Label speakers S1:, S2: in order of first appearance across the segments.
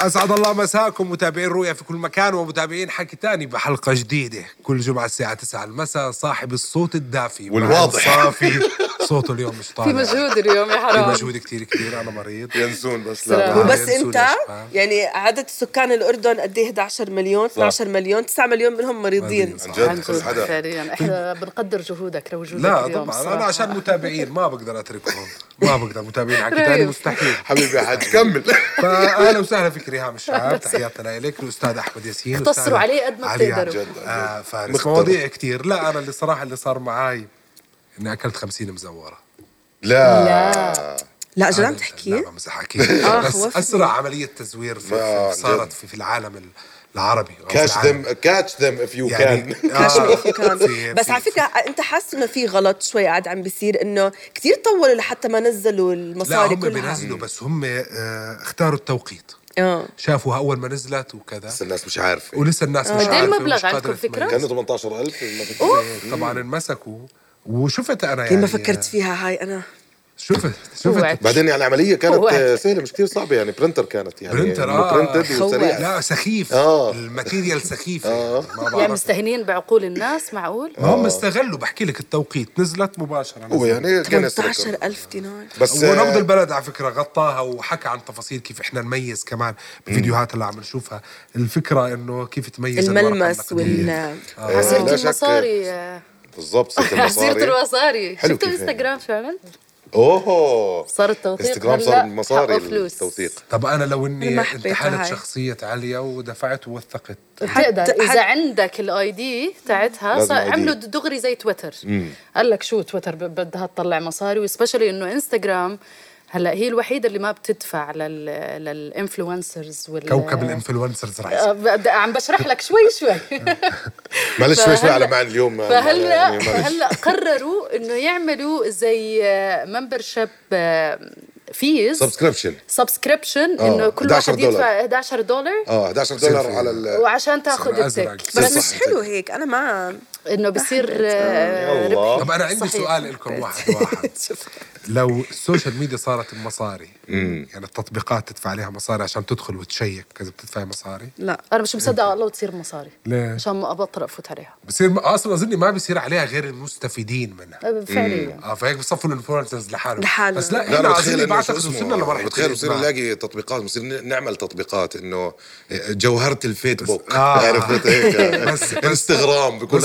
S1: اسعد الله مساكم متابعين رؤيا في كل مكان ومتابعين حكي تاني بحلقه جديده كل جمعه الساعه 9 المساء صاحب الصوت الدافي
S2: والواضح.
S1: مع الصافي صوته اليوم مش طالع
S3: في مجهود اليوم يا
S1: في
S3: حرام
S1: مجهود كثير كبير انا مريض
S2: ينسون بس
S3: سلام.
S2: لا
S3: وبس
S1: آه،
S4: وبس
S1: ينسوا
S4: انت
S1: الأشباه.
S4: يعني عدد سكان الاردن قد ايه 11 مليون 12 مليون 9 مليون منهم مريضين
S1: مريض.
S2: عن
S3: عن
S2: جد
S3: جد
S2: بس حدا
S3: فعليا احنا بنقدر جهودك لوجودك
S1: لا
S3: اليوم
S1: طبعا
S3: صراحة.
S1: انا عشان متابعين ما بقدر اتركهم ما بقدر متابعين حكي تاني
S3: رهيب.
S1: مستحيل
S2: حبيبي يا حاج كمل
S1: فاهلا وسهلا فيك ريهام الشعب تحياتنا لك الاستاذ احمد ياسين
S3: اختصروا
S1: أستاذة
S3: عليه قد ما
S1: علي
S3: بتقدروا.
S2: جد، جد.
S1: آه فارس
S2: مخترع.
S1: مواضيع كثير لا انا اللي صراحه اللي صار معاي اني اكلت 50 مزوره
S2: لا
S4: لا اجل عم
S1: أنا-
S4: تحكي آه،
S1: لا بمزح اكيد نعم، بس
S4: خوفني.
S1: اسرع عمليه تزوير في,
S2: آه،
S1: في
S2: عن
S1: صارت
S2: جد.
S1: في, في العالم ال- العربي أو في
S2: كاتش
S1: العالم.
S2: ذم كاتش ذم اف يو
S1: يعني
S2: كان
S4: كاش
S1: آه،
S4: ميفي كان.
S1: في-
S4: إيه، بس
S1: في-
S4: على
S1: في-
S4: فكره انت حاسس انه في غلط شوي قاعد عم بيصير انه كثير طولوا لحتى ما نزلوا
S1: لا
S4: المصاري
S1: هم
S4: كلها
S1: بينزلوا بس هم آه، اختاروا التوقيت
S4: اه
S1: شافوها اول ما نزلت وكذا
S2: بس الناس مش عارفه
S1: ولسه الناس
S4: آه.
S1: مش
S3: قد إيه
S1: عارفة
S3: المبلغ
S1: ومش قادرة
S3: عندكم فكرة؟
S1: تميز.
S2: كانوا 18000 ما فيك
S1: طبعا انمسكوا وشفت انا يعني
S4: ليه إيه، ما فكرت فيها هاي انا
S1: شفت
S3: اوعى
S1: شفت
S2: بعدين يعني العمليه كانت
S3: واحد.
S2: آه، سهله مش كثير صعبه يعني برنتر كانت يعني
S1: برنتر، آه.
S2: برنتد وسريع
S1: لا سخيف
S2: آه.
S1: الماتيريال سخيف ما
S3: يعني
S1: بعرف
S3: مستهينين بعقول الناس معقول
S1: ما هم استغلوا بحكي لك التوقيت نزلت مباشره
S2: هو
S1: نزلت.
S2: يعني جنس ريكورد.
S4: 18000 دينار
S2: بس آه،
S1: ونبض البلد على فكره غطاها وحكى عن تفاصيل كيف احنا نميز كمان بالفيديوهات اللي عم نشوفها الفكره انه كيف تميز الورقة
S4: الملمس
S1: النقدية.
S4: وال
S2: لا
S3: عسيرة
S2: شك.
S3: المصاري آه،
S2: بالضبط صرت
S3: عسيرة
S2: المصاري
S3: المصاري
S2: حلو
S3: شفتوا
S2: كيف هيك.
S3: انستغرام شو عملت؟
S2: اوه
S3: صار التوثيق
S2: انستغرام
S3: هلا
S2: صار مصاري
S3: حقه فلوس.
S2: التوثيق
S1: طب انا لو اني
S4: أنا ما حبيتها
S1: انتحلت
S4: هاي.
S1: شخصيه عاليه ودفعت ووثقت
S3: بتقدر
S4: حتى-
S3: اذا
S4: حتى-
S3: عندك الاي دي تاعتها
S2: لازم
S3: صار-
S2: ID.
S3: عملوا دغري زي تويتر قال لك شو تويتر ب- بدها تطلع مصاري وسبشلي انه انستغرام هلا هي الوحيده اللي ما بتدفع لل للانفلونسرز وال
S1: كوكب الانفلونسرز راح يصير.
S3: آه، ب- عم بشرح لك شوي شوي
S2: معلش شوي شوي
S3: فهلأ-
S2: على معنى اليوم آه،
S3: فهلا
S2: يعني معلش.
S3: هلا قرروا انه يعملوا زي آه، ممبرشيب فيز
S2: سبسكريبشن
S3: سبسكريبشن
S2: آه،
S3: انه كل
S2: 11
S3: واحد يدفع
S2: دولار.
S3: 11 دولار
S2: اه 11 دولار على ال
S3: وعشان تاخذ
S1: صار أزرق.
S3: التك
S2: صار
S4: بس
S3: بس
S4: مش حلو هيك انا ما
S3: انه بصير آه،
S2: الله.
S3: ربحي
S1: طب انا عندي
S3: صحيح.
S1: سؤال لكم واحد واحد لو السوشيال ميديا صارت بمصاري يعني التطبيقات تدفع عليها مصاري عشان تدخل وتشيك كذا بتدفع مصاري
S4: لا
S3: انا مش مصدقه على الله وتصير مصاري
S1: ليه؟
S3: عشان ما ابطل افوت عليها
S1: بصير اصلا اظن ما بصير عليها غير المستفيدين منها
S3: آه، فعليا
S1: اه فهيك بصفوا الانفلونسرز لحالهم
S4: لحالهم.
S1: بس لا
S2: لا
S1: احنا
S2: انا بتخيل
S1: عايزين
S2: انه
S1: بعتقد
S2: شو اسمه،
S1: وصلنا لمرحله
S2: بتخيل بصير
S1: الإتباع.
S2: نلاقي تطبيقات بصير ن- نعمل تطبيقات انه جوهره الفيسبوك
S1: آه.
S2: عرفت هيك
S1: بس- بس-
S2: انستغرام بكل
S1: بس-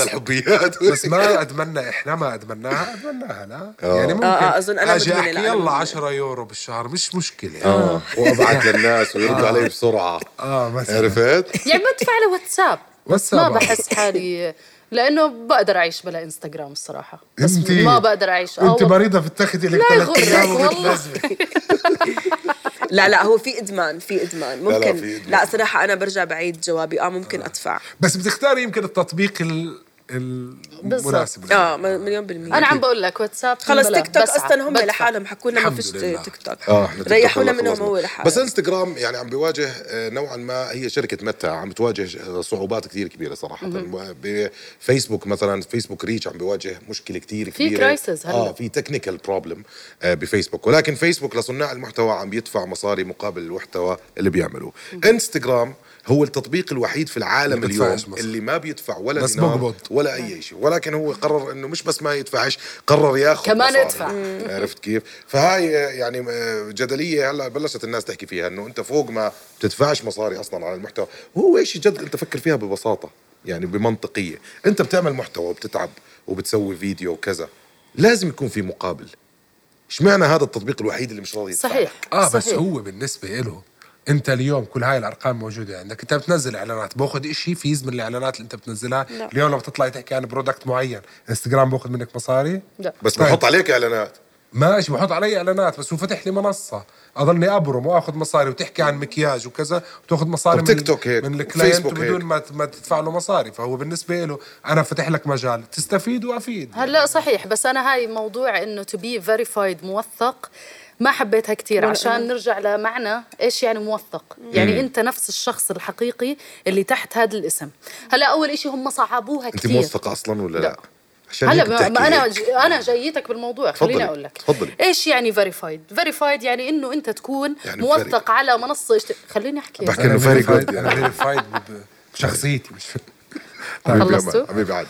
S2: الحبيات
S1: بس ما اتمنى احنا ما اتمناها اتمناها لا يعني ممكن
S4: آه، آه، أظن أنا
S1: اجي
S4: مدمنة
S1: احكي
S4: لأ،
S1: يلا
S4: أنا
S1: 10 يورو بالشهر مش مشكله اه
S2: وابعت للناس ويردوا
S1: آه.
S2: علي بسرعه
S1: اه مثلا
S2: عرفت؟
S3: يعني بدفع على واتساب
S1: واتساب.
S3: ما بحس حالي لانه بقدر اعيش بلا انستغرام الصراحه بس
S1: إنتي-
S3: ما بقدر اعيش آه،
S1: انت مريضه بتاخذي لك
S3: لا
S1: ثلاث
S3: يغرك،
S1: ايام
S3: والله.
S1: وبتنزلي
S4: لا لا هو في ادمان في ادمان
S2: لا،
S4: ممكن
S2: في إدمان. آه.
S4: لا صراحه انا برجع بعيد جوابي اه ممكن ادفع
S1: بس بتختاري يمكن التطبيق ال- المناسب لك.
S4: اه م- مليون بالمية
S3: انا عم بقول لك واتساب
S4: خلص
S3: بلا،
S4: تيك توك
S3: بسعى،
S4: اصلا هم
S3: بدفع.
S4: لحالهم حكوا لنا ما
S1: الحمد
S4: فيش
S1: لله.
S4: تيك توك
S2: اه إحنا تيك توك
S4: ريحونا
S2: هلا
S4: منهم
S2: خلصنا.
S4: هو لحاله.
S2: بس انستغرام يعني عم بيواجه آه، نوعا ما هي شركه متى عم بتواجه آه، صعوبات كثير كبيره صراحه بفيسبوك مثلا فيسبوك ريتش عم بيواجه مشكله كثير
S3: في
S2: كبيره
S3: crisis هلا.
S2: اه في تكنيكال بروبلم بفيسبوك ولكن فيسبوك لصناع المحتوى عم بيدفع مصاري مقابل المحتوى اللي بيعملوه انستغرام هو التطبيق الوحيد في العالم
S1: اللي بيدفعش
S2: اليوم
S1: مصاري.
S2: اللي ما بيدفع ولا
S1: بس
S2: دينار
S1: بقبض.
S2: ولا اي شيء ولكن هو قرر انه مش بس ما يدفعش قرر ياخذ
S3: كمان
S2: مصاري.
S3: يدفع.
S2: عرفت كيف؟ فهاي يعني جدليه هلا بلشت الناس تحكي فيها انه انت فوق ما بتدفعش مصاري اصلا على المحتوى، وهو ايش جد انت فكر فيها ببساطه يعني بمنطقيه، انت بتعمل محتوى وبتتعب وبتسوي فيديو وكذا، لازم يكون في مقابل. اشمعنى هذا التطبيق الوحيد اللي مش راضي يدفع
S3: صحيح
S2: لك؟
S1: اه بس
S3: صحيح.
S1: هو بالنسبه له انت اليوم كل هاي الارقام موجوده عندك انت بتنزل اعلانات باخذ شيء فيز من الاعلانات اللي انت بتنزلها
S4: لا.
S1: اليوم لما تطلعي تحكي عن برودكت معين انستغرام باخذ منك مصاري
S3: لا
S2: بس بحط عليك اعلانات
S1: ماشي بحط علي اعلانات بس هو فتح لي منصه اضلني ابرم واخذ مصاري وتحكي عن مكياج وكذا وتاخذ مصاري
S2: وتيك توك هيك،
S1: من الكلاينت
S2: وفيسبوك
S1: بدون
S2: هيك.
S1: ما ما تدفع له مصاري فهو بالنسبه له انا فتح لك مجال تستفيد وافيد
S3: هلا صحيح بس انا هاي موضوع انه تو بي فيريفايد موثق ما حبيتها كثير
S4: ولا
S3: عشان
S4: أنا.
S3: نرجع لمعنى ايش يعني موثق يعني انت نفس الشخص الحقيقي اللي تحت هذا الاسم هلا اول إشي هم صعبوها
S2: انت
S3: كثير
S2: موثقه اصلا ولا لا؟
S3: لا.
S2: عشان
S3: هلا
S2: هيك
S3: ما-
S2: بتحكي
S3: ما انا
S2: هيك.
S3: ج... انا جايتك بالموضوع
S2: تفضلي.
S3: خليني اقول لك
S2: تفضلي.
S3: ايش يعني فيريفايد فيريفايد يعني انه انت تكون
S2: يعني
S3: يعني موثق على منصه اجت... خليني احكي
S2: بحكي انه فيري جود
S1: انا
S2: يعني
S1: فيريفايد بشخصيتي مش
S2: حبيبي
S3: خلصتوا؟
S2: أمان، حبيبي عاد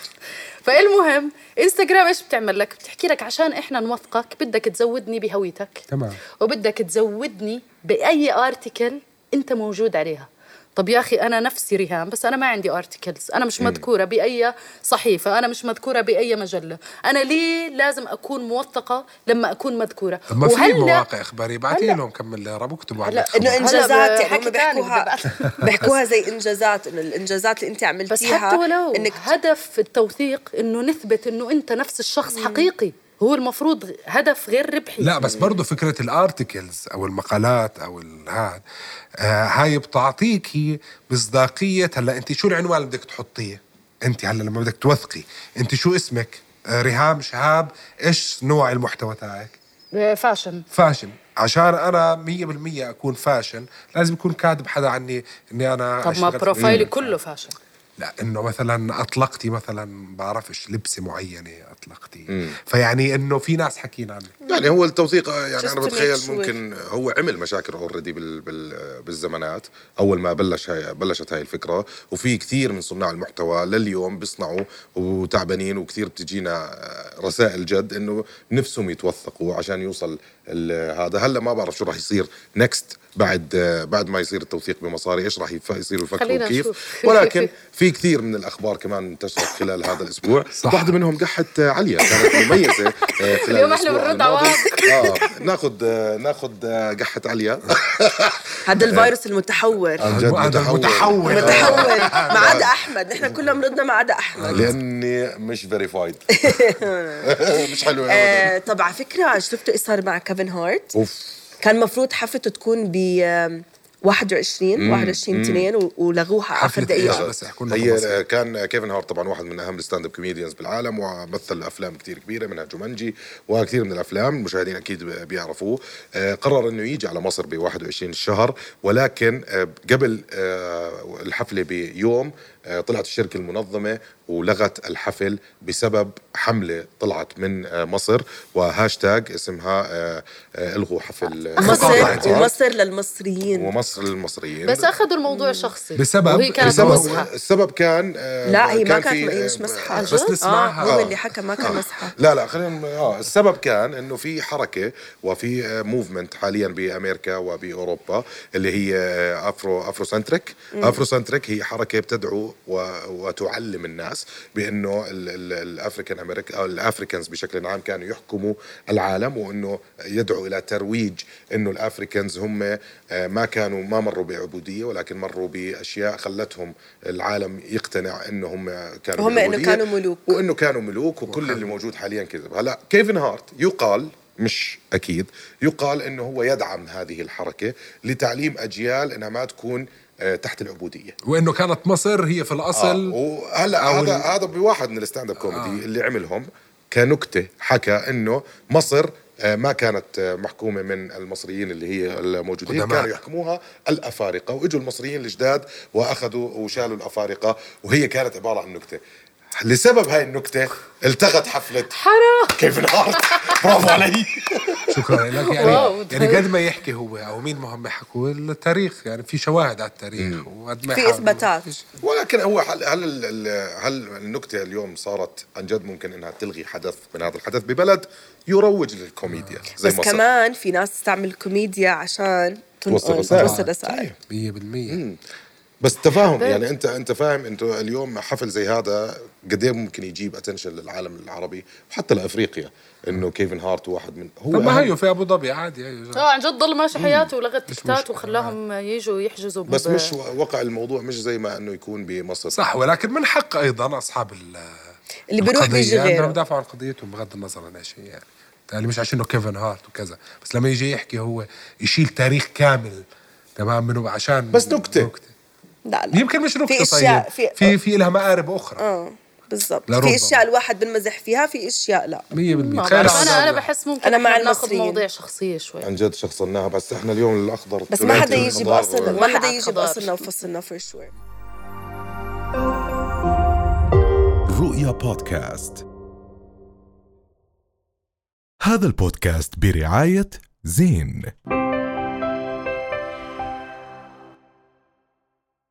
S3: فالمهم انستغرام ايش بتعمل لك بتحكي لك عشان احنا نوثقك بدك تزودني بهويتك
S1: تمام.
S3: وبدك تزودني باي ارتكل انت موجود عليها طب يا اخي انا نفسي ريهام بس انا ما عندي ارتكلز انا مش مذكوره باي صحيفه انا مش مذكوره باي مجله انا ليه لازم اكون موثقه لما اكون مذكوره
S1: طب ما في
S3: وهلا-
S1: مواقع اخباريه ابعتي
S3: هلا-
S1: لهم كمل رب اكتبوا عن
S3: هلا
S4: انه
S1: الخبر.
S4: انجازات
S3: هلا
S4: يعني هم
S3: بحكي تاني
S4: بيحكوها
S3: بدي أبقى-
S4: بيحكوها زي انجازات انه الانجازات اللي انت عملتيها
S3: بس حتى ولو
S4: انك
S3: انك هدف التوثيق انه نثبت انه انت نفس الشخص حقيقي هو المفروض هدف غير ربحي
S1: لا بس برضو فكرة الارتكلز او المقالات او ال- هاد آه هاي بتعطيكي مصداقية هلا انت شو العنوان اللي بدك تحطيه؟ انت هلا لما بدك توثقي انت شو اسمك؟ آه ريهام شهاب ايش نوع المحتوى تاعك؟
S3: آه، فاشن
S1: فاشن عشان انا 100% اكون فاشن لازم يكون كاتب حدا عني اني انا
S3: طب ما
S1: اشتغلت-
S3: بروفايلي كله فاشن
S1: لا انه مثلا اطلقتي مثلا بعرفش لبسه معينه اطلقتي فيعني انه في ناس حكينا عنك
S2: يعني هو التوثيق آه، يعني
S4: Just
S2: انا
S4: to
S2: بتخيل
S4: make sure.
S2: ممكن هو عمل مشاكل اوريدي بال بال بالزمانات اول ما بلش هاي بلشت هاي الفكره وفي كثير من صناع المحتوى لليوم بيصنعوا وتعبانين وكثير بتجينا آه، رسائل جد انه نفسهم يتوثقوا عشان يوصل ال- هذا هلا ما بعرف شو راح يصير نكست بعد آه، بعد ما يصير التوثيق بمصاري ايش راح يف- يصيروا يفكروا
S3: خلينا
S2: كيف
S3: نشوف.
S2: ولكن في كثير من الاخبار كمان انتشرت خلال هذا الاسبوع صح. واحده منهم قحت آه، عليا كانت مميزه آه، خلال
S3: اليوم احنا
S2: الأسبوع
S3: بنرد
S2: الماضي.
S3: عواطف.
S2: اه ناخذ ناخذ قحه عليا
S4: هذا
S2: إيه.
S4: الفيروس المتحور
S2: عن جد
S1: هذا
S2: متحول.
S1: المتحول
S2: آه.
S4: متحور ما عدا احمد نحن كلنا مرضنا ما عدا احمد
S2: لاني مش فيريفايد مش حلو ابدا
S4: آه طب على فكره شفتوا ايش صار مع كيفن هارت
S2: اوف
S4: كان مفروض حفلته تكون ب 21 21 2 و- ولغوها اخر
S1: حفلة
S4: دقيقه
S1: إيه؟ بس احكوا لنا
S2: هي
S1: تفاصيل.
S2: كان كيفن هارت طبعا واحد من اهم الستاند اب كوميديانز بالعالم ومثل افلام كثير كبيره منها جومانجي وكثير من الافلام المشاهدين اكيد بيعرفوه آه، قرر انه يجي على مصر ب 21 الشهر ولكن آه، قبل آه، الحفله بيوم آه، طلعت الشركه المنظمه ولغت الحفل بسبب حمله طلعت من آه، مصر وهاشتاج اسمها آه، آه، الغوا حفل
S4: مصر
S2: آه،
S4: ومصر للمصريين
S2: ومصر للمصريين
S3: بس اخذوا الموضوع شخصي
S1: بسبب-
S3: وهي كانت
S1: بسبب-
S3: مسحة
S2: السبب السبب كان آه،
S4: لا هي ما
S2: كان
S4: كانت
S2: في- آه،
S4: هي مش مسحه
S1: بس نسمعها
S4: آه هو اللي حكى ما كان مسحه
S2: لا لا خلينا اه السبب كان انه في حركه وفي آه، موفمنت حاليا بامريكا وباوروبا اللي هي آه، افرو افرو سنتريك افرو سنتريك هي حركه بتدعو و- وتعلم الناس بانه الافريكان امريكا او الافريكانز آه، بشكل عام كانوا يحكموا العالم وانه يدعو الى ترويج انه الافريكانز هم آه، ما كانوا ما مروا بعبوديه ولكن مروا باشياء خلتهم العالم يقتنع انه هم كانوا
S4: هم إنه
S2: بعبودية
S4: كانوا ملوك.
S2: وانه كانوا ملوك وكل اللي موجود حاليا كذب هلا كيفن هارت يقال مش اكيد يقال انه هو يدعم هذه الحركه لتعليم اجيال انها ما تكون آه، تحت العبوديه
S1: وانه كانت مصر هي في الاصل
S2: آه، وهلا هذا هذا بواحد من الستاند اب
S4: آه.
S2: كوميدي اللي عملهم كنكته حكى انه مصر آه، ما كانت آه، محكومه من المصريين اللي هي الموجودين
S1: قدماء.
S2: كانوا يحكموها الافارقه واجوا المصريين الجداد واخذوا وشالوا الافارقه وهي كانت عباره عن نكته لسبب هاي النكته التغت حفله
S3: حرام
S2: كيفن هارت برافو علي
S1: شكرا لك
S3: واو،
S1: يعني
S2: طيب.
S1: يعني قد ما يحكي هو او مين مهم يحكوا التاريخ يعني في شواهد على التاريخ وقد ما
S4: في
S1: يحاولوا.
S4: إثباتات.
S2: ولكن هو هل هل ال- ال- هل النكته اليوم صارت عن جد ممكن انها تلغي حدث من هذا الحدث ببلد يروج للكوميديا زي
S4: آه. بس
S2: مصر
S4: كمان في ناس تستعمل كوميديا عشان آه،
S2: توصل
S4: تنقل-
S2: رسائل.
S4: توصل
S1: طيب.
S4: رسائل
S1: 100%
S2: بس تفاهم يعني انت انت فاهم انتوا اليوم حفل زي هذا قد ايه ممكن يجيب اتنشن للعالم العربي وحتى لافريقيا انه كيفن هارت واحد آه. من هو
S1: طب ما
S2: أهم-
S1: هيو في ابو ظبي عادي هيو.
S3: اه عن جد ضل ماشي حياته ولغى تيكتات
S1: مشكلة.
S3: وخلاهم يجوا يحجزوا
S2: بس
S3: بب-
S2: مش وقع الموضوع مش زي ما انه يكون بمصر
S1: صح ولكن من حق ايضا اصحاب ال-
S4: اللي بيروح
S1: القضية
S4: بيجي غيره.
S1: انهم دافعوا عن قضيتهم بغض النظر عن ايش هي يعني يعني مش عشان انه كيفن هارت وكذا بس لما يجي يحكي هو يشيل تاريخ كامل تمام منه عشان
S2: بس نكتة.
S4: لا لا
S1: يمكن مش نكته
S4: في آه. اشياء
S1: طيب
S4: في
S1: في في لها مقارب اخرى
S4: بالضبط
S1: لربما.
S4: في اشياء الواحد بنمزح فيها في اشياء لا
S1: 100%
S3: بس
S1: تخيل
S3: انا انا
S1: عذابنا.
S3: بحس ممكن
S4: أنا مع
S3: إحنا ناخذ
S4: المصريين.
S3: مواضيع شخصيه شوي
S2: عن جد شخصناها بس احنا اليوم الاخضر
S4: بس ما حدا
S2: الثلاثي
S4: يجي
S2: والخضار
S4: باصلنا
S2: و-
S4: ما حدا
S3: ولعت
S4: يجي
S3: خضار.
S4: باصلنا وفصلنا for sure
S5: رؤيا بودكاست هذا البودكاست برعاية زين